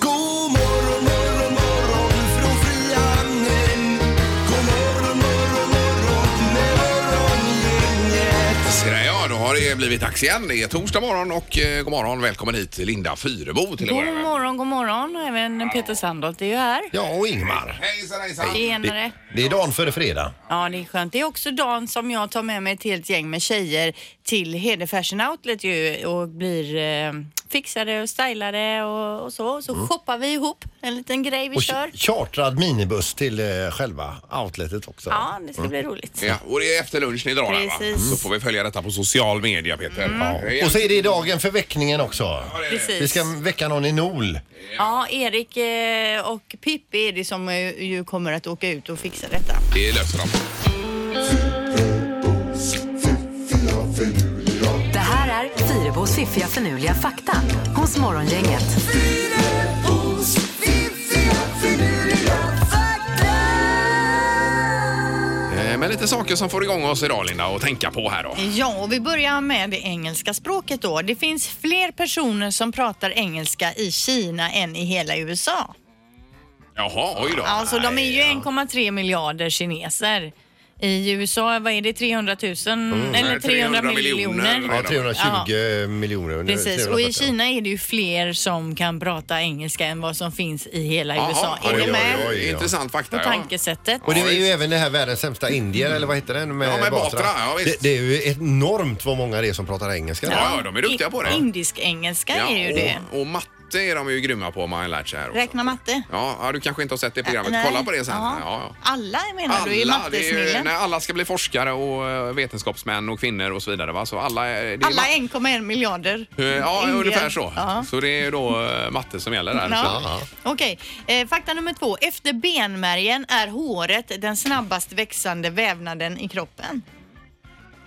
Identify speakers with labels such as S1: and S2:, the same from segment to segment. S1: God morgon, morgon, morgon från Frihamnen. God morgon, morgon, morgon med morgongänget.
S2: Sådär ja, då har det blivit dags igen. Det är torsdag morgon och eh, god morgon. Välkommen hit Linda Fyrebo till att börja
S3: God
S2: med.
S3: morgon, god morgon. Även Peter Sandholt är ju här.
S4: Ja, och Ingmar.
S2: Hejsan hejsan.
S3: Tjenare.
S4: Det är dagen före fredag.
S3: Ja, det är skönt. Det är också dagen som jag tar med mig ett helt gäng med tjejer till Hede Fashion Outlet ju och blir eh, fixade och stylade och, och så.
S4: Mm.
S3: Så shoppar vi ihop en liten grej vi
S4: Och
S3: kör.
S4: ch- chartrad minibuss till eh, själva outletet också.
S3: Ja, det
S4: Mm.
S3: ska bli roligt.
S2: Ja, och det är efter lunch ni drar här va?
S3: Precis. Mm.
S2: Så får vi följa detta på social media Peter. Ja.
S4: Och så är det dagen för väckningen också. Vi
S3: Precis.
S4: ska väcka någon i NOL.
S3: Ja, Erik eh, och Pippi är det som eh, ju kommer att åka ut och fixa detta.
S2: Det löser de.
S5: Det här är Fyrabos fiffiga förnuliga fakta hos Morgongänget.
S1: Fyrabos fiffiga finurliga fakta.
S2: Eh, Men lite saker som får igång oss idag Linda och tänka på här då.
S3: Ja, och vi börjar med det engelska språket då. Det finns fler personer som pratar engelska i Kina än i hela USA.
S2: Jaha, oj då.
S3: Alltså de är ju 1,3 miljarder kineser. I USA, vad är det, 300 000 eller 300,
S2: Mm, Nej, 300 miljoner.
S3: miljoner?
S4: Ja, 320 miljoner.
S3: Precis,
S4: 340.
S3: och i Kina är det ju fler som kan prata engelska än vad som finns i hela
S2: Jaha,
S3: USA.
S2: oj,
S3: är
S2: oj,
S3: ni med
S2: oj, oj. Intressant fakta.
S3: på
S2: ja.
S3: tankesättet?
S4: Och det
S2: Ja,
S4: är ju
S2: visst.
S4: även det här världens sämsta indier, eller vad heter den? Med
S2: Ja, med Batra, ja, visst.
S4: det, det är ju enormt vad många det är som pratar engelska.
S2: Ja, ja, de är duktiga på det.
S3: Indisk-engelska
S2: Ja,
S3: är ju det.
S2: och, och matte är de ju grymma på om man har lärt sig här också.
S3: Räkna matte.
S2: Ja, ja, du kanske inte har sett det programmet.
S3: Nej.
S2: Kolla på det sen.
S3: Ja.
S2: Ja, ja.
S3: Alla menar du är
S2: det är ju-
S3: mattesnillen.
S2: nej, alla ska bli forskare och eh, vetenskapsmän och kvinnor och så vidare. Va? Så alla, är- det är
S3: Alla
S2: ma-
S3: 1,1 miljarder.
S2: Eh, Ja,
S3: indier.
S2: ungefär så.
S3: Ja.
S2: Så det är då eh, matte som gäller där.
S3: Ja.
S2: Så.
S3: Okej, eh, fakta nummer två. Efter benmärgen är håret den snabbast växande vävnaden i kroppen.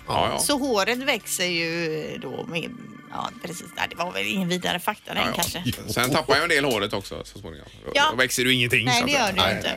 S2: Ja, ja.
S3: Så håret växer ju då med... Ja, precis. Nej, det var väl ingen vidare fakta den
S2: Ja, ja.
S3: kanske.
S2: Sen tappar jag en del håret också så småningom. Då-
S3: Ja.
S2: Då växer du ingenting.
S3: Nej,
S2: så att
S3: det
S2: säga.
S3: gör du ju inte.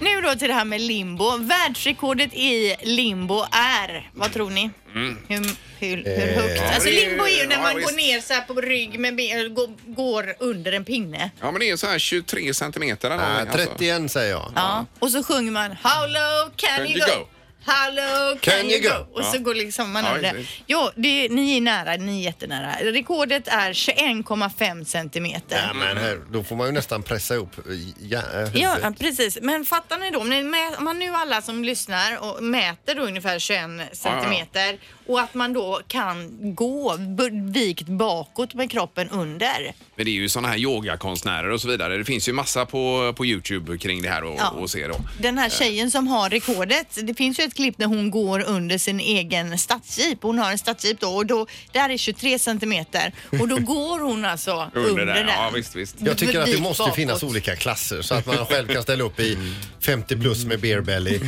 S3: Nu då till det här med limbo. Världsrekordet i limbo är, vad tror ni? Hur, hur, hur
S4: Eh,
S3: högt?
S2: Mm. ja,
S3: alltså
S2: det är-
S3: limbo är ju när
S2: ja,
S3: man
S2: visst.
S3: går ner så här på rygg med ben, går, går under en pinne.
S2: Ja, men det är ju så här 23 centimeter. Eller
S4: Nej,
S2: någonting, alltså.
S4: 31 säger jag.
S3: Ja. Och så sjunger man How low can, you go? How low can, you go? Och så
S2: Ja.
S3: går liksom man
S2: Ja,
S3: över det.
S2: precis.
S3: Jo, det, ni är nära, ni är jättenära. Rekordet är 21,5 centimeter.
S4: Nej, men här, då får man ju nästan pressa ihop eh, ja, eh, huvudet.
S3: Ja, precis. Men fattar ni då, om, ni mä- om man nu alla som lyssnar och mäter då ungefär 21 centimeter och att man då kan gå b- vikt bakåt med kroppen under.
S2: Men det är ju såna här yogakonstnärer och så vidare. Det finns ju massa på, på Youtube kring det här och,
S3: Ja.
S2: och se Eh. då.
S3: Den här tjejen som har rekordet, det finns ju ett klipp när hon går under sin egen stadsjeep. Hon har en stadsjeep då och då, där är 23 centimeter och då går hon alltså under,
S2: Under där.
S3: den.
S2: Ja, visst, visst.
S4: Jag tycker att det
S3: Dit
S4: måste
S3: bakåt.
S4: finnas olika klasser så att man själv kan ställa upp i 50 plus med beer belly.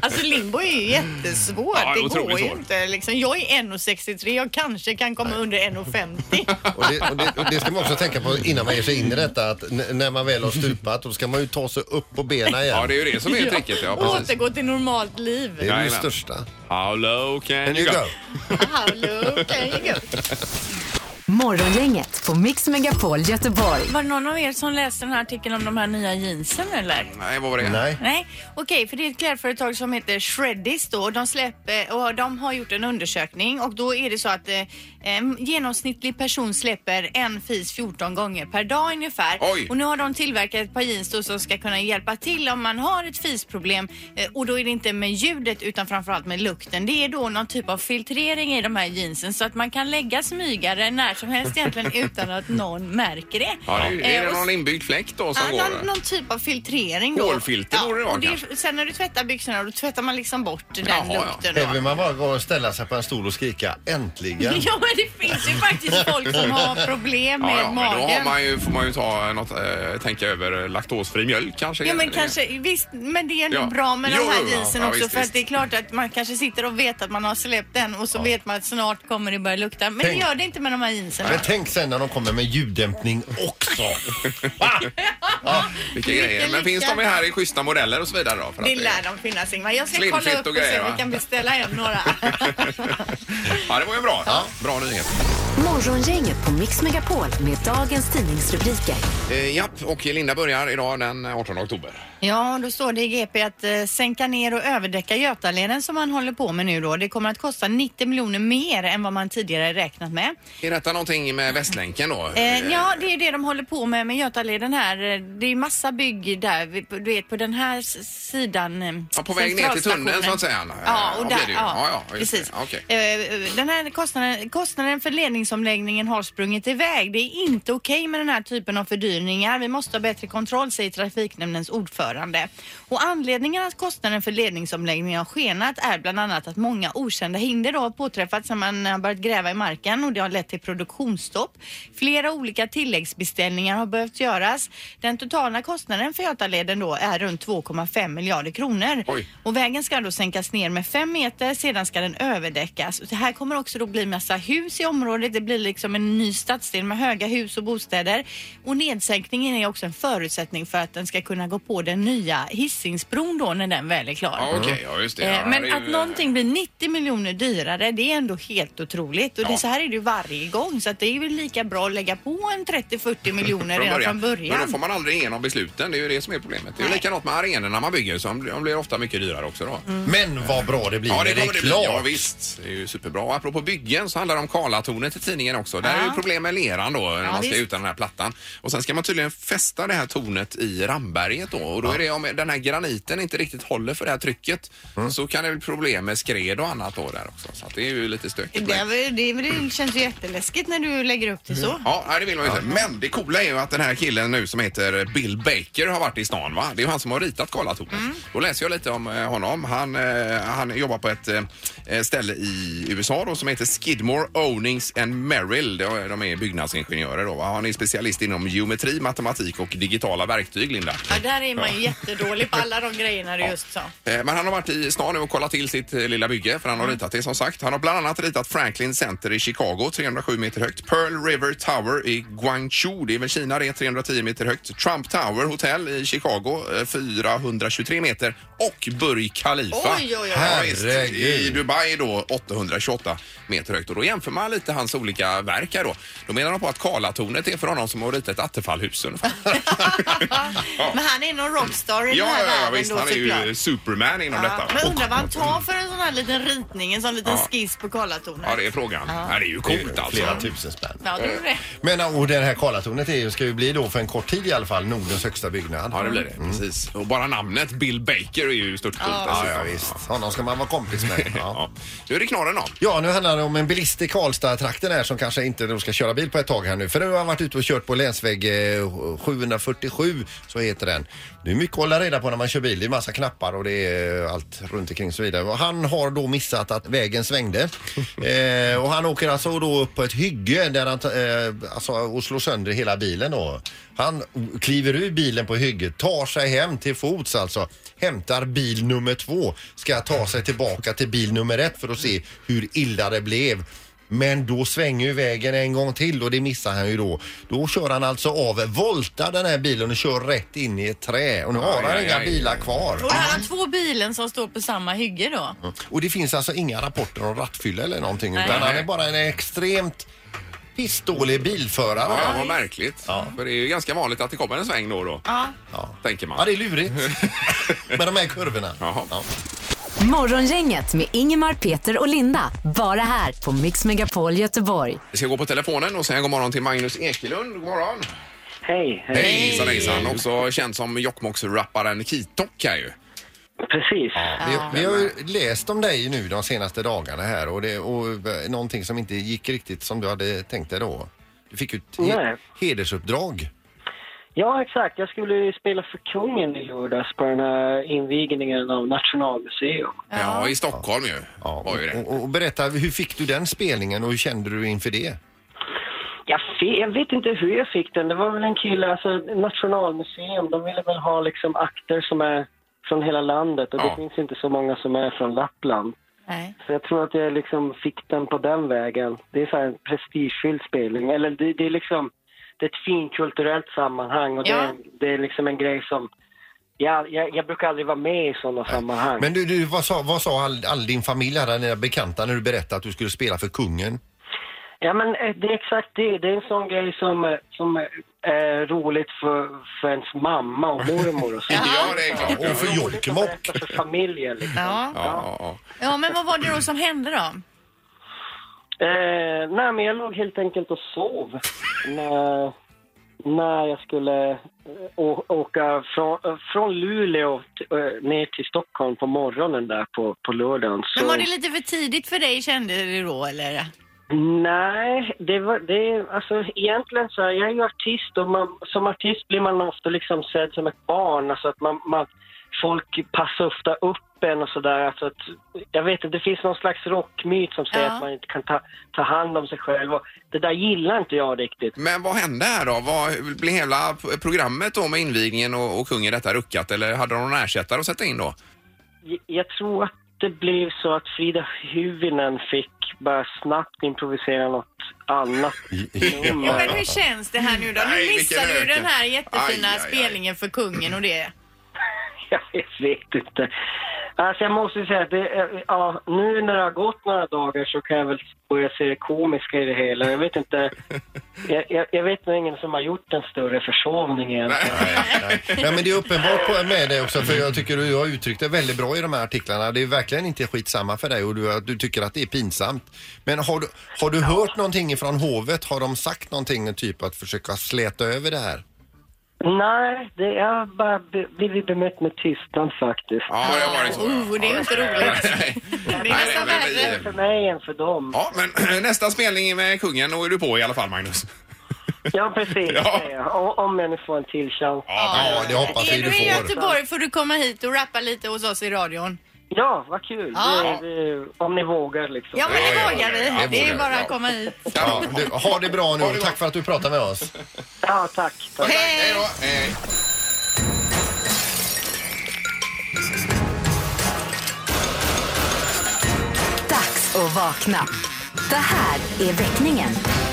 S3: Alltså limbo är ju jättesvårt.
S2: Ja,
S3: det går
S2: otroligt
S3: ju
S2: svårt.
S3: inte. Liksom, jag är 1,63. Jag kanske kan komma under 1,50.
S4: Och det, och det, och det ska man också tänka på innan man ger sig in i detta att n- när man väl har stupat då ska man ju ta sig upp på benen igen.
S2: Ja, det är ju det som är tricket. Ja,
S3: Och
S2: precis.
S3: återgå till normalt
S4: Det
S3: liv.
S4: är ju det
S2: Jajamän.
S4: största.
S2: How low can
S4: And
S2: you
S4: you
S2: go?
S4: go.
S3: Hallå, kan jag gå?
S5: Morgongänget på Mix Megapol Göteborg.
S3: Var det någon av er som läste den här artikeln om de här nya jeansen eller?
S2: Nej, vad var det?
S4: Nej.
S3: Nej, okej, för det är ett klädföretag som heter Shreddis då. De, släpper, och de har gjort en undersökning och då är det så att eh, en genomsnittlig person släpper en fis 14 gånger per dag ungefär.
S2: Oj.
S3: Och nu har de tillverkat ett par jeans då som ska kunna hjälpa till om man har ett fisproblem eh, och då är det inte med ljudet utan framförallt med lukten. Det är då någon typ av filtrering i de här jeansen så att man kan lägga smygare när när som helst egentligen utan att någon märker det.
S2: Ja, det är, ju- är
S3: Eh,
S2: det
S3: och
S2: någon inbyggd fläkt då som
S3: Ja,
S2: går?
S3: någon, någon typ av filtrering då.
S2: Hårfilter borde det vara
S3: och
S2: kanske.
S3: Sen när du tvättar byxorna då tvättar man liksom bort den
S2: Jaha, ja.
S3: lukten.
S4: Här vill
S3: Då.
S4: man bara gå och ställa sig på en stol och skrika äntligen.
S3: Ja men det finns ju faktiskt folk som har problem med
S2: Ja, ja, men då har
S3: magen.
S2: man ju, får man ju ta något, eh, tänka över laktosfri mjölk kanske.
S3: Ja men
S2: Det-
S3: kanske, visst, men det är ändå
S2: Ja.
S3: bra med
S2: Jo,
S3: den här
S2: jo, ja.
S3: jeansen
S2: Ja,
S3: också
S2: visst,
S3: för
S2: visst.
S3: att det är klart att man kanske sitter och vet att man har släppt den och så vet man att snart kommer det börja lukta. Men
S4: Tänk.
S3: det gör det inte med de här jeansen.
S4: Men tänk sen när de kommer med ljuddämpning också.
S2: Vilka
S3: Vilken
S2: grejer. Men
S3: lycka.
S2: finns de här i schyssta modeller och så vidare då? För att
S3: Det lär de finnas Ingmar. Jag ska
S2: Slim
S3: kolla
S2: fit
S3: upp
S2: och
S3: och se
S2: grejer,
S3: om
S2: va?
S3: vi kan beställa hem några.
S2: Ja, det var ju bra. Bra nyhet.
S5: Morgongänget på Mix Megapol med dagens tidningsrubriker.
S2: Eh, japp, och Linda börjar idag den 18 oktober.
S3: Ja, då står det i GP att eh, sänka ner och överdäcka Götaleden som man håller på med nu då. Det kommer att kosta 90 miljoner mer än vad man tidigare räknat med.
S2: Är detta någonting med Västlänken då?
S3: Eh, ja, det är ju det de håller på med med Götaleden här. Eh, Det är massa bygg där, vi- du vet på den här s- sidan. eh,
S2: Ja, på väg ner till
S3: centralstationen.
S2: tunneln, så att säga.
S3: Ja,
S2: Eh,
S3: och
S2: ja,
S3: där,
S2: blir det ju.
S3: ja,
S2: Ja, ja, just
S3: precis.
S2: det. Okej.
S3: Eh, Den här kostnaden, kostnaden för ledningsomläggningen har sprungit iväg. Det är inte okej med den här typen av fördyringar. Vi måste ha bättre kontroll, säger trafiknämndens ordförande. Och anledningen att kostnaden för ledningsomläggningen har skenat är bland annat att många okända hinder då har påträffats när man har börjat gräva i marken och det har lett till produktionsstopp. Flera olika tilläggsbeställningar har behövt göras. Den totala kostnaden för Götaleden då är runt 2,5 miljarder kronor.
S2: Oj.
S3: Och vägen ska då sänkas ner med fem meter, sedan ska den överdäckas. Och Det här kommer också då bli massa hus i området. Det blir liksom en ny stadsdel med höga hus och bostäder. Och nedsänkningen är också en förutsättning för att den ska kunna gå på den nya Hisingsbron då när den väl är klar.
S2: Ja, okej, ja, just det.
S3: Eh,
S2: Ja, det
S3: Men
S2: är
S3: att
S2: ju-
S3: någonting blir 90 miljoner dyrare, det är ändå helt otroligt. Och
S2: Ja.
S3: det, så här är det ju varje gång, så att det är väl lika bra att lägga på en 30-40 miljoner
S2: Från
S3: redan
S2: Men
S3: från
S2: då får
S3: början.
S2: man aldrig igenom besluten. Det är ju det som är problemet. Det är ju
S3: Nej.
S2: likadant med arenorna man bygger. Så de blir- de blir ofta mycket dyrare också då.
S4: Men vad bra det blir
S2: Ja, det
S4: när det
S2: kommer
S4: är
S2: det bli. Ja,
S4: klart.
S2: visst. Det är ju superbra. Och apropå byggen så handlar det om Karlatornet i tidningen också. Där är ju problem med leran då, när man ska
S3: visst.
S2: utan den här plattan. Och sen ska man tydligen fästa det här tornet i Ramberget då. Och då är det om den här graniten inte riktigt håller för det här trycket
S4: Mm.
S2: så kan det bli problem med skred och annat då där också. Så att det är ju lite stökigt.
S3: Det, är
S2: Men...
S3: väl- det, är väl- det känns ju jätteläskigt när du lägger upp det så.
S2: Ja, nej, det vill man ju inte. Men det coola är ju att den här killen nu som heter Bill Baker har varit i stan va? Det är ju han som har ritat Karlatornet. Då läser jag lite om eh, honom. Han, eh, han jobbar på ett eh, ställe i USA då som heter Skidmore Ownings and Merrill. De är- de är byggnadsingenjörer då va? Han är specialist inom geometri, matematik och digitala verktyg Linda.
S3: Ja, där är man ju jättedålig på alla de grejerna du just sa.
S2: Eh, Men han har varit i stan nu och kollat till sitt eh, lilla bygge för han
S3: Mm.
S2: har ritat det som sagt. Han har bland annat ritat Franklin Center i Chicago, 307 meter högt. Pearl River Tower i Guangzhou, det är väl Kina det, 310 meter högt. Trump Tower Hotel i Chicago, eh, 423 meter. Och Burj Khalifa
S3: Oj, oj, oj.
S2: Ja, visst. i
S4: Herregud.
S2: Dubai då, 828 meter högt. Och då jämför man lite hans olika verk här då. Då menar de på att Karlatornet är för honom som har ritat Attefallhus ungefär.
S3: Men han är någon rockstar i
S2: Ja,
S3: den här
S2: ja, ja,
S3: världen
S2: visst.
S3: då
S2: Han är
S3: såklart.
S2: ju Superman inom
S3: Ja,
S2: detta.
S3: men
S2: Och-
S3: undrar vad han tar för en sån här liten ritning, en sån liten
S2: Ja.
S3: skiss på Karlatornet.
S2: Ja, det är frågan. Ja. det är ju coolt alltså.
S4: Flera typ- tusen spänn.
S3: Ja, tror du det?
S4: Men och det här Karlatornet är ju, ska ju bli då för en kort tid i alla fall Nordens högsta byggnad.
S2: Ja, det blir det. Precis. Och bara namnet Bill Baker är ju stort coolt.
S4: Mm. Ja, ja, visst. Honom ska man vara kompis med. Ja.
S2: Ja. Nu är det knorren då.
S4: Ja, nu handlar det om en bilist i Karlstad-trakten här som kanske inte då ska köra bil på ett tag här nu. För nu har han varit ute och kört på länsväg eh, 747, så heter den. Det är mycket att hålla reda på när man kör bil. Det är massa knappar och det är eh, allt runt omkring och så vidare. Och han har då missat att vägen svängde. eh, och han åker alltså då upp på ett hygge där han, ta- eh, alltså, och slår sönder hela bilen då. Han kliver ur bilen på hygget, tar sig hem till fots alltså, hämtar bil nummer två, ska ta sig tillbaka till bil nummer ett för att se hur illa det blev. Men då svänger ju vägen en gång till och det missar han ju då. Då kör han alltså av, voltar den här bilen och kör rätt in i ett trä och nu har
S2: Aj,
S4: han
S2: aj,
S4: inga
S2: aj.
S4: bilar kvar.
S3: Och han har två bilen som står på samma hygge då.
S4: Och det finns alltså inga rapporter om rattfylla eller någonting
S3: Nej.
S4: utan han är bara en extremt pissdålig bilförare.
S2: Ja, vad märkligt. För det är ju ganska vanligt att det kommer en sväng då och då,
S3: Ja.
S2: tänker
S4: Ja,
S2: man.
S4: det är lurigt med de här kurvorna.
S2: Jaha.
S4: Ja.
S5: Morgongänget med Ingemar, Peter och Linda. Bara här på Mix Megapol Göteborg.
S2: Vi ska gå på telefonen och säga god morgon till Magnus Ekelund. God morgon.
S6: Hej, hej.
S2: Hejsan, hejsan. Också känd som Jokkmokks-rapparen Kitok här ju.
S6: Precis.
S4: Vi, vi har ju läst om dig nu de senaste dagarna här och, det, och eh, någonting som inte gick riktigt som du hade tänkt dig då. Du fick ju ett he-
S6: Nej.
S4: hedersuppdrag.
S6: Ja, exakt. Jag skulle ju spela för kungen i lördags på den här invigningen av Nationalmuseum.
S2: Ja, i Stockholm ju.
S4: Ja,
S2: Var ju det.
S4: och, och, och berätta, hur fick du den spelningen och hur kände du inför det?
S6: Jag, fe- jag vet inte hur jag fick den. Det var väl en kille, alltså Nationalmuseum, de ville väl ha liksom akter som är från hela landet och
S2: Ja.
S6: det finns inte så många som är från Lappland.
S3: Nej.
S6: Så jag tror att jag liksom fick den på den vägen. Det är så här en prestigefylld spelning. Eller det, det är liksom, det är ett finkulturellt sammanhang och det,
S3: Ja.
S6: är, det är liksom en grej som, jag, jag, jag brukar aldrig vara med i sådana sammanhang.
S4: Men du, du vad sa, vad sa all, all din familj, alla dina bekanta när du berättade att du skulle spela för kungen?
S6: Ja, men eh, det är exakt det. Det är en sån grej som, eh, som eh, är roligt för, för ens mamma och mormor och så.
S2: Ja, det är klart.
S4: Och för
S6: Roligt att
S4: Jokkmokk?
S6: berätta för familjen liksom.
S3: Ja.
S2: Ja, ja,
S3: ja, men vad var det då som hände då?
S6: Eh, nej, men jag låg helt enkelt och sov när, när jag skulle eh, å, åka från, eh, från Luleå t- eh, ner till Stockholm på morgonen där på, på lördagen. Så,
S3: Men var det lite för tidigt för dig kände du då eller?
S6: Nej, det var det, alltså egentligen så här, jag är ju artist och man, som artist blir man ofta liksom sedd som ett barn, alltså att man, man folk passar ofta upp en och sådär. Alltså att, jag vet inte, det finns någon slags rockmyt som säger
S3: Ja.
S6: att man inte kan ta, ta hand om sig själv och det där gillar inte jag riktigt.
S2: Men vad hände här då? Vad, blev hela p- programmet då med invigningen och, och kungen detta ruckat eller hade de någon ersättare att sätta in då?
S6: Jag- Jag tror att det blev så att Frida Hyvinen fick bara snabbt improvisera något annat
S3: Ja,
S6: nummer.
S3: men hur känns det här nu då?
S2: Nej,
S3: Nu missar
S2: vilken
S3: du ju
S2: öken.
S3: den här jättefina
S2: Aj, aj, aj.
S3: spelningen för kungen och det.
S6: Jag vet inte. Alltså jag måste ju säga att det, är- ja, nu när det har gått några dagar så kan jag väl börja se det komiska i det hela. Jag vet inte, jag, jag, jag vet nog ingen som har gjort en större försovning än.
S4: Nej men det är uppenbart på- med dig också för jag tycker du har uttryckt det väldigt bra i de här artiklarna. Det är verkligen inte skitsamma för dig och du, du tycker att det är pinsamt. Men har du, har du hört någonting från hovet? Har de sagt någonting typ att försöka släta över det här?
S6: Nej, det är bara be- blivit bemött med tystnad faktiskt.
S2: Ja, det var det så. ja.
S3: Oh, det är
S2: Ja,
S3: inte
S2: det-
S3: roligt.
S2: Nej.
S3: Det är
S2: Nej,
S3: nästan
S2: men vi-
S3: värre.
S6: För mig än för dem.
S2: Ja, men nästa spelning med kungen, då är du på i alla fall, Magnus.
S6: Ja, precis.
S2: Ja.
S6: det är jag. O- Om jag nu får en till chans.
S4: Ja, det hoppas vi
S3: Är
S4: du
S3: du i
S4: får.
S3: Göteborg får du komma hit och rappa lite hos oss i radion.
S6: Ja, vad kul.
S3: Ja.
S6: Det, det, om ni vågar liksom.
S3: Ja, men
S2: Ja,
S3: det
S2: ja,
S3: vågar
S2: ja, ja,
S3: vi.
S2: det
S3: Det är
S2: vågar
S3: bara
S2: vi, ja.
S3: att komma hit.
S4: Ja, du, ha det bra nu. Tack för att du pratade med oss.
S6: Ja, tack. tack.
S2: Hej då! Hej.
S5: Dags att vakna. Det här är väckningen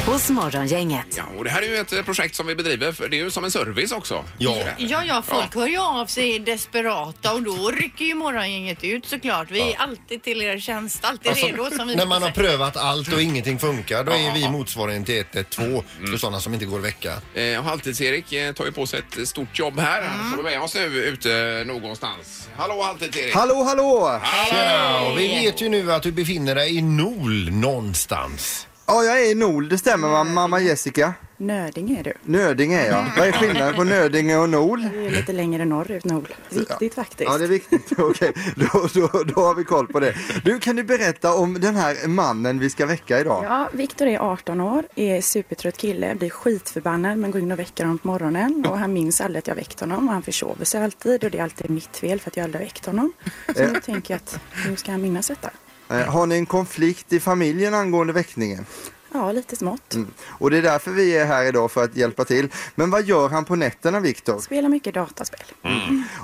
S5: hos Morgongänget.
S2: Ja, och det här är ju ett eh, projekt som vi bedriver, för det är ju som en service också.
S4: Ja.
S3: Ja, ja, folk hör ju av sig är desperata och då rycker ju morgongänget ut såklart. Vi är alltid till er tjänst, alltid
S4: Alltså,
S3: redo som vi
S4: när man har
S3: brukar
S4: prövat allt och ingenting funkar då är vi motsvarigheten till 112 för sådana som inte går vecka.
S2: Eh, och Halvtids-Erik eh, tar ju på sig ett stort jobb här.
S3: Mm.
S2: Han får med oss nu ute någonstans. Hallå, Halvtids-Erik!
S7: Hallå, hallå!
S4: Ja, och vi vet ju nu att du befinner dig i Nol någonstans.
S7: Ja, jag är i Nol, det stämmer va, mamma Jessica?
S8: Nöding är du.
S7: Nödinge är jag. Vad är skillnaden på Nödinge och Nol?
S8: Du är lite längre norrut nog. Viktigt faktiskt.
S7: Ja, det är viktigt. Okej, då, då, då har vi koll på det. Du, kan du berätta om den här mannen vi ska väcka idag?
S8: Ja, Viktor är 18 år, är supertrött kille, blir skitförbannad men går in och väcker honom på morgonen och han minns aldrig att jag väckt honom och han försover sig alltid och det är alltid mitt fel för att jag aldrig har väckt honom. Så nu tänker jag att nu ska han minnas detta.
S7: Eh, Har ni en konflikt i familjen angående väckningen?
S8: Ja, lite smått.
S7: Och det är därför vi är här idag för att hjälpa till. Men vad gör han på nätterna, Viktor?
S8: Spelar mycket dataspel.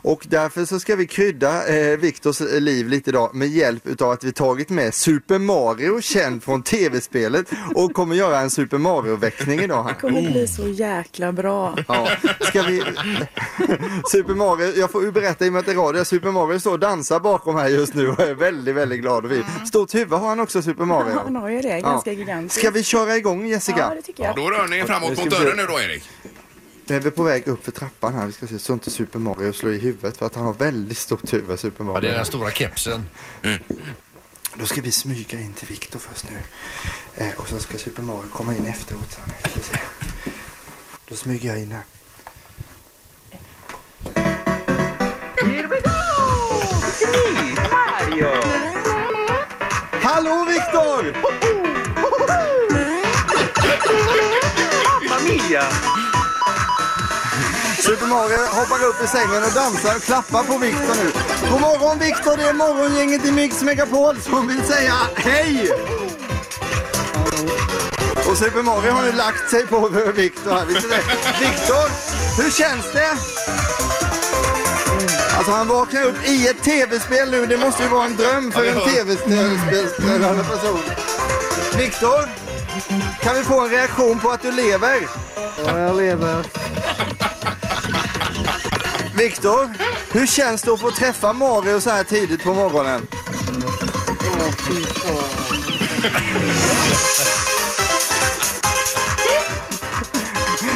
S7: Och därför så ska vi krydda eh, Viktors liv lite idag med hjälp utav att vi tagit med Super Mario, känd från tv-spelet och kommer göra en Super Mario-väckning idag.
S8: Det kommer bli så jäkla bra.
S7: Ja, ska vi... Super Mario, jag får ju berätta i och med att det är radio. Super Mario står och dansar bakom här just nu och är väldigt, väldigt glad. Och vi... Stort huvud har han också, Super Mario.
S8: Ja, han har ju det, ganska gigantiskt.
S7: Ska vi köra igång,
S8: Ja,
S7: Jessica?
S8: det tycker jag.
S2: Då rör ni er
S7: Nu
S2: framåt
S7: ska
S2: mot
S7: vi se.
S2: dörren nu då, Erik.
S7: Nu är vi på väg upp för trappan här. Vi ska se så inte Super Mario slår i huvudet för att han har väldigt stort huvud, Super
S4: Ja, det
S7: Mario.
S4: är den stora kepsen.
S7: Då ska vi smyga in till Viktor först nu. Eh, och så ska Super Mario komma in efteråt. Så här. Ska vi se. Då smyger jag in här. Here we go! Hallå Viktor! Super Mario hoppar upp i sängen och dansar och klappar på Viktor nu. God morgon Viktor, det är morgongänget i Mix Megapol som vill säga hej! Och Super Mario har nu lagt sig på Viktor här. Visst är det? Viktor, hur känns det? Alltså han vaknar upp i ett tv-spel nu. Det måste ju vara en dröm för
S2: Ja,
S7: en
S2: det hör.
S7: tv-spelande person. Viktor, kan vi få en reaktion på att du lever? Ja, jag lever. Viktor, hur känns det att få träffa Mario så här tidigt på morgonen?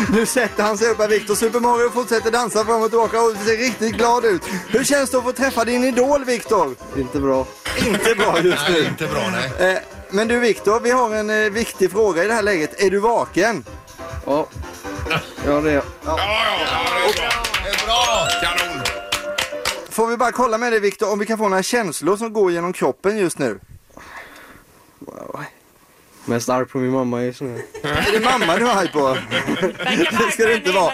S7: Nu sätter han sig upp här, Viktor. Super Mario fortsätter dansa fram och tillbaka och ser riktigt glad ut. Hur känns det att få träffa din idol, Viktor? Inte bra. Inte bra just
S4: Nej,
S7: nu.
S4: inte bra nej.
S7: Eh, Men du Viktor, vi har en eh, viktig fråga i det här läget. Är du vaken? Ja. Ja, det är jag.
S2: ja, ja, det är bra.
S4: Det är bra!
S2: Kanon!
S7: Får vi bara kolla med dig Viktor om vi kan få några känslor som går genom kroppen just nu?
S9: Mest arg på min mamma just nu.
S7: Är det mamma du är arg på? Det ska det inte vara.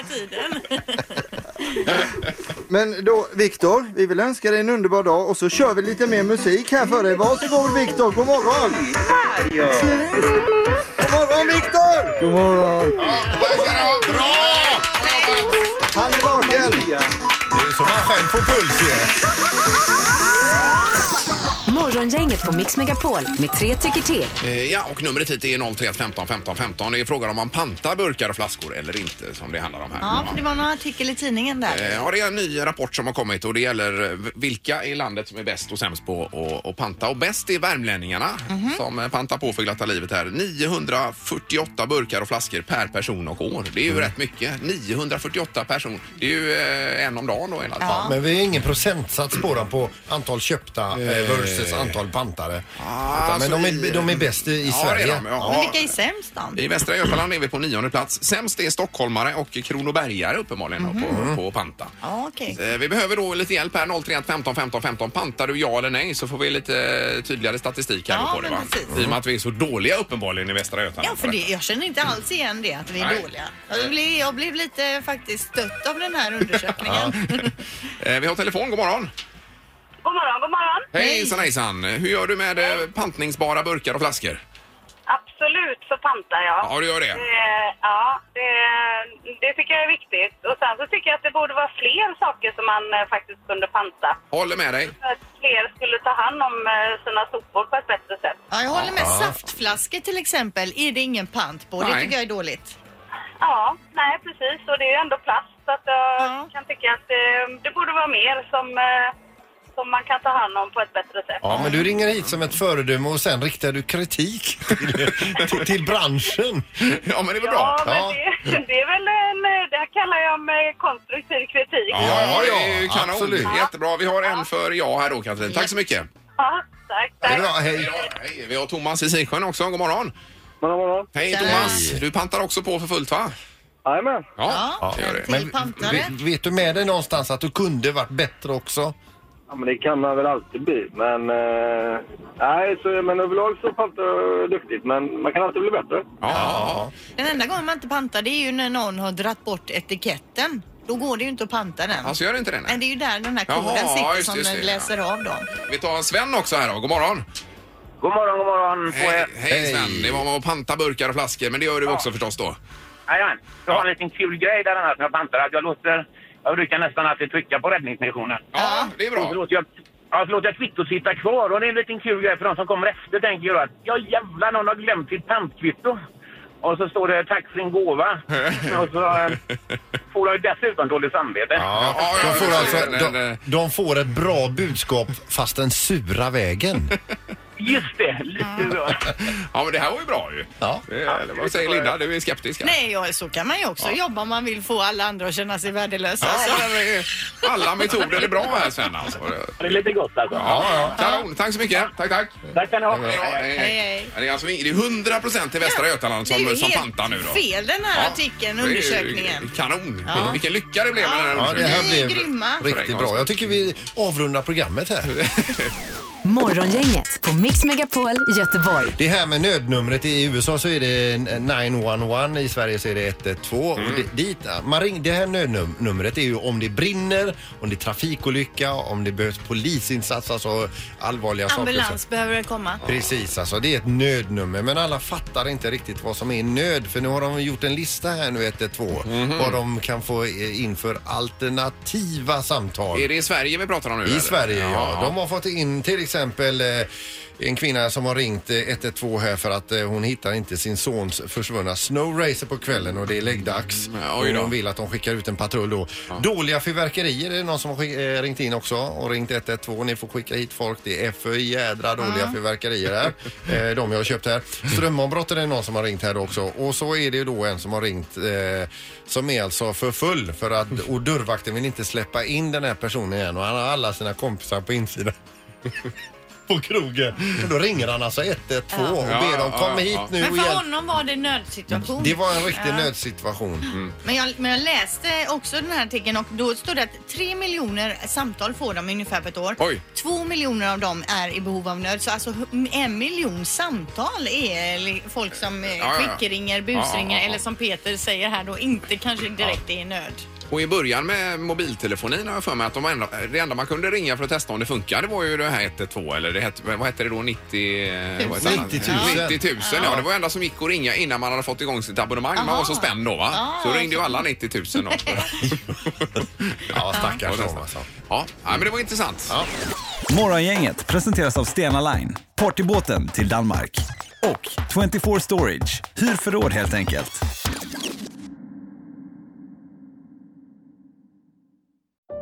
S7: Men då Viktor, vi vill önska dig en underbar dag och så kör vi lite mer musik här för dig. Varsågod Viktor, god morgon! God morgon Viktor! God morgon!
S2: Bra!
S7: Han är vaken!
S4: Det är så man själv får puls ju.
S5: Morgongänget på Mix Megapol med tre tycker till.
S2: Eh, Ja, och numret hit är 031 15 15 15. Det är frågan om man pantar burkar och flaskor eller inte som det handlar om här.
S3: Ja, för det var någon artikel i tidningen där.
S2: Eh, Ja, det är en ny rapport som har kommit och det gäller eh, vilka i landet som är bäst och sämst på att- att panta. Och bäst är värmlänningarna
S3: Mhm.
S2: som eh, pantar på för glatta livet här. 948 burkar och flaskor per person och år. Det är ju rätt mycket. 948 person. Det är ju eh, en om dagen då i alla fall.
S4: Men vi har ingen procentsats på dem på antal köpta eh, versus antal pantare. Utan, men
S2: alltså
S4: de
S2: i-
S4: är, de är bäst i, i
S2: Ja, det är
S4: Sverige.
S2: de, ja.
S3: Men vilka är sämst då?
S2: I Västra Götaland är vi på nionde plats. Sämst är stockholmare och kronobergare uppenbarligen på, på att panta.
S3: Ja, okej.
S2: Eh, Vi behöver då lite hjälp här, 031 15 15 15. Pantar du ja eller nej så får vi lite eh, tydligare statistik här
S3: Ja,
S2: på det
S3: men
S2: va?
S3: precis.
S2: I och med att vi är så dåliga uppenbarligen i Västra Götaland.
S3: Ja, för det, jag känner inte alls igen det att vi är
S2: Nej.
S3: dåliga. Jag blev, jag blev lite faktiskt stött av den här undersökningen.
S2: Eh, Vi har telefon, god morgon.
S6: God morgon, god morgon.
S2: Hejsan hejsan. Hur gör du med eh, pantningsbara burkar och flaskor?
S6: Absolut så pantar jag.
S2: Ja, du gör det.
S6: Eh, ja, det, det tycker jag är viktigt. Och sen så tycker jag att det borde vara fler saker som man eh, faktiskt kunde panta.
S2: Håller med dig.
S6: För att fler skulle ta hand om eh, sina sopor på ett bättre sätt.
S3: Ja, jag håller med. Saftflaskor till exempel är det ingen pant på. Det
S2: Nej.
S3: tycker jag är dåligt.
S6: Ja, nej precis. Och det är ju ändå plast. Så att jag
S3: Ja.
S6: kan tycka att eh, det borde vara mer som, eh, som man kan ta hand om på ett bättre sätt.
S4: Ja, men du ringer hit som ett föredöme och sen riktar du kritik till, till, till branschen.
S2: Ja, men det är väl
S6: Ja,
S2: bra.
S6: men
S4: Ja.
S6: Det, det är väl en... eh, Det här kallar jag mig konstruktiv kritik.
S2: Ja, det är ju
S4: Ja,
S2: kanon.
S4: absolut.
S2: Jättebra. Vi har en för ja här då, Katrin. Tack så mycket.
S6: Ja, tack,
S4: Det är
S6: tack.
S4: bra, hej.
S2: Ja, hej. Vi har Thomas i Siksjön också. God morgon.
S9: Morgon, morgon.
S2: Hej
S3: Tjena.
S2: Thomas. Du pantar också på för fullt va?
S9: Jajamän.
S2: Ja,
S3: Ja,
S2: det gör det.
S3: men- Till pantare.
S4: vet, vet du med dig någonstans att du kunde varit bättre också?
S9: Ja, men det kan man väl alltid bli, men... Eh, nej, så, men överlag så pantar jag duktigt, men man kan alltid bli bättre.
S2: Ja, ja.
S3: Den enda gången man inte pantar det är ju när någon har dratt bort etiketten. Då går det ju inte att panta den.
S2: Alltså gör det inte det?
S3: Men
S2: Nej.
S3: det är ju där den här
S2: Jaha,
S3: koden sitter
S2: ja, just
S3: som
S2: det, just det,
S3: läser av dem.
S2: Vi tar Sven också här då. God morgon.
S9: God morgon, god morgon på
S2: Hej,
S9: er.
S2: hej Sven. Det var med att panta burkar och flaskor, men det gör du också förstås då.
S9: Jajamän. Jag har en liten kul grej där annars med pantar. Att jag låter... Jag brukar nästan alltid trycka på räddningsmissionen.
S2: Ja, det är
S9: Och så
S2: bra.
S9: låter jag, ja, så låter jag kvittot sitta kvar. Och det är en liten kul grej för de som kommer efter tänker ju då att ja jävlar någon har glömt sitt pantkvitto. Och så står det tack för din gåva. och så eh, får de ju dessutom dåligt samvete.
S2: Ja, ja,
S4: De får,
S2: ja,
S4: alltså,
S2: ja, ja, ja.
S4: de, de får ett bra budskap fast den sura vägen.
S9: Just det, lite så.
S2: Ja, men det här var ju bra ju.
S4: Ja.
S2: Eh, eller vad säger Linda? Du är skeptisk. här.
S3: Nej, ja, så kan man ju också jobba om man vill få alla andra att känna sig värdelösa.
S2: Ja,
S3: alltså.
S2: men, eh, alla metoder är bra här Sven alltså.
S9: Det är lite gott alltså.
S2: Ja, ja. Kanon, tack så mycket. Tack, tack.
S9: Tack ska ni ha.
S2: Ja, hej,
S3: Hej, hej.
S2: Det är alltså det är 100 procent i Västra Götaland
S3: det är
S2: som,
S3: ju
S2: som
S3: helt
S2: pantar nu då.
S3: fel den här artikeln,
S2: det är ju
S3: undersökningen.
S2: Kanon. Vilken lycka det blev med den här
S4: Ja, det
S2: undersökningen.
S4: här
S3: Ni är
S4: blev
S3: grymma.
S4: riktigt bra. Jag tycker vi avrundar programmet
S2: Mm.
S4: här.
S5: Morgongänget på Mix Megapol Göteborg.
S4: Det här med nödnumret i USA så är det 911, i Sverige så är det 112.
S2: Mm.
S4: Och det, dit, man ring, det här nödnumret är ju om det brinner, om det är trafikolycka, om det behövs polisinsats, alltså allvarliga saker.
S3: Ambulans
S4: Så.
S3: behöver det komma.
S4: Precis, alltså det är ett nödnummer men alla fattar inte riktigt vad som är nöd för nu har de gjort en lista här nu 112
S2: Mhm.
S4: vad de kan få eh, in för alternativa samtal.
S2: Är det i Sverige vi pratar om nu?
S4: I
S2: eller?
S4: Sverige, ja. De har fått in till exempel eh, en kvinna som har ringt eh, 112 här för att eh, hon hittar inte sin sons försvunna snowracer på kvällen och det är läggdags.
S2: Ja, Mm, oj då.
S4: och hon vill att de skickar ut en patrull då. Dåliga fyrverkerier är det någon som har skick- eh, ringt in också och ringt 112. Ni får skicka hit folk. Det är för jädra dåliga fyrverkerier här. eh, de jag har köpt här. Strömavbrott är det någon som har ringt här också. Och så är det ju då en som har ringt eh, som är alltså för full för att, och dörrvakten vill inte släppa in den här personen igen och han har alla sina kompisar på insidan. på krogen. Och då ringer han alltså 112 och
S2: Ja,
S4: ber dem
S2: ja,
S4: komma
S2: ja,
S4: hit
S2: ja.
S4: nu och
S3: Men för
S4: hjälp.
S3: honom var det nödsituation.
S4: Det var en riktig
S3: Ja.
S4: nödsituation.
S3: Men jag, men jag läste också den här artikeln och då stod det att 3 miljoner samtal får de ungefär på ett år.
S2: Oj.
S3: 2 miljoner av dem är i behov av nöd. Så alltså hu- en miljon samtal är li- folk som eh,
S2: Ja, ja, ja.
S3: skickringer,
S2: Ja,
S3: busringer
S2: ja, ja.
S3: eller som Peter säger här då inte kanske direkt är i nöd.
S2: Och i början med mobiltelefonin har jag för mig att de enda, det enda man kunde ringa för att testa om det funkar det var ju det här 112 eller det hette, vad hette det då 90... eh, vad heter det?
S4: 90 000.
S2: 90 000 ja. Det var det enda som gick att ringa innan man hade fått igång sitt abonnemang. Man
S3: Aha.
S2: var så spänd då va?
S3: Ja,
S2: så ringde ju alla 90 000 då.
S4: Ja, stackars dem alltså.
S2: ja. ja, men det var intressant.
S10: Morgongänget presenteras av Stena Line, partybåten till Danmark. Och 24 Storage, hyr förråd helt enkelt.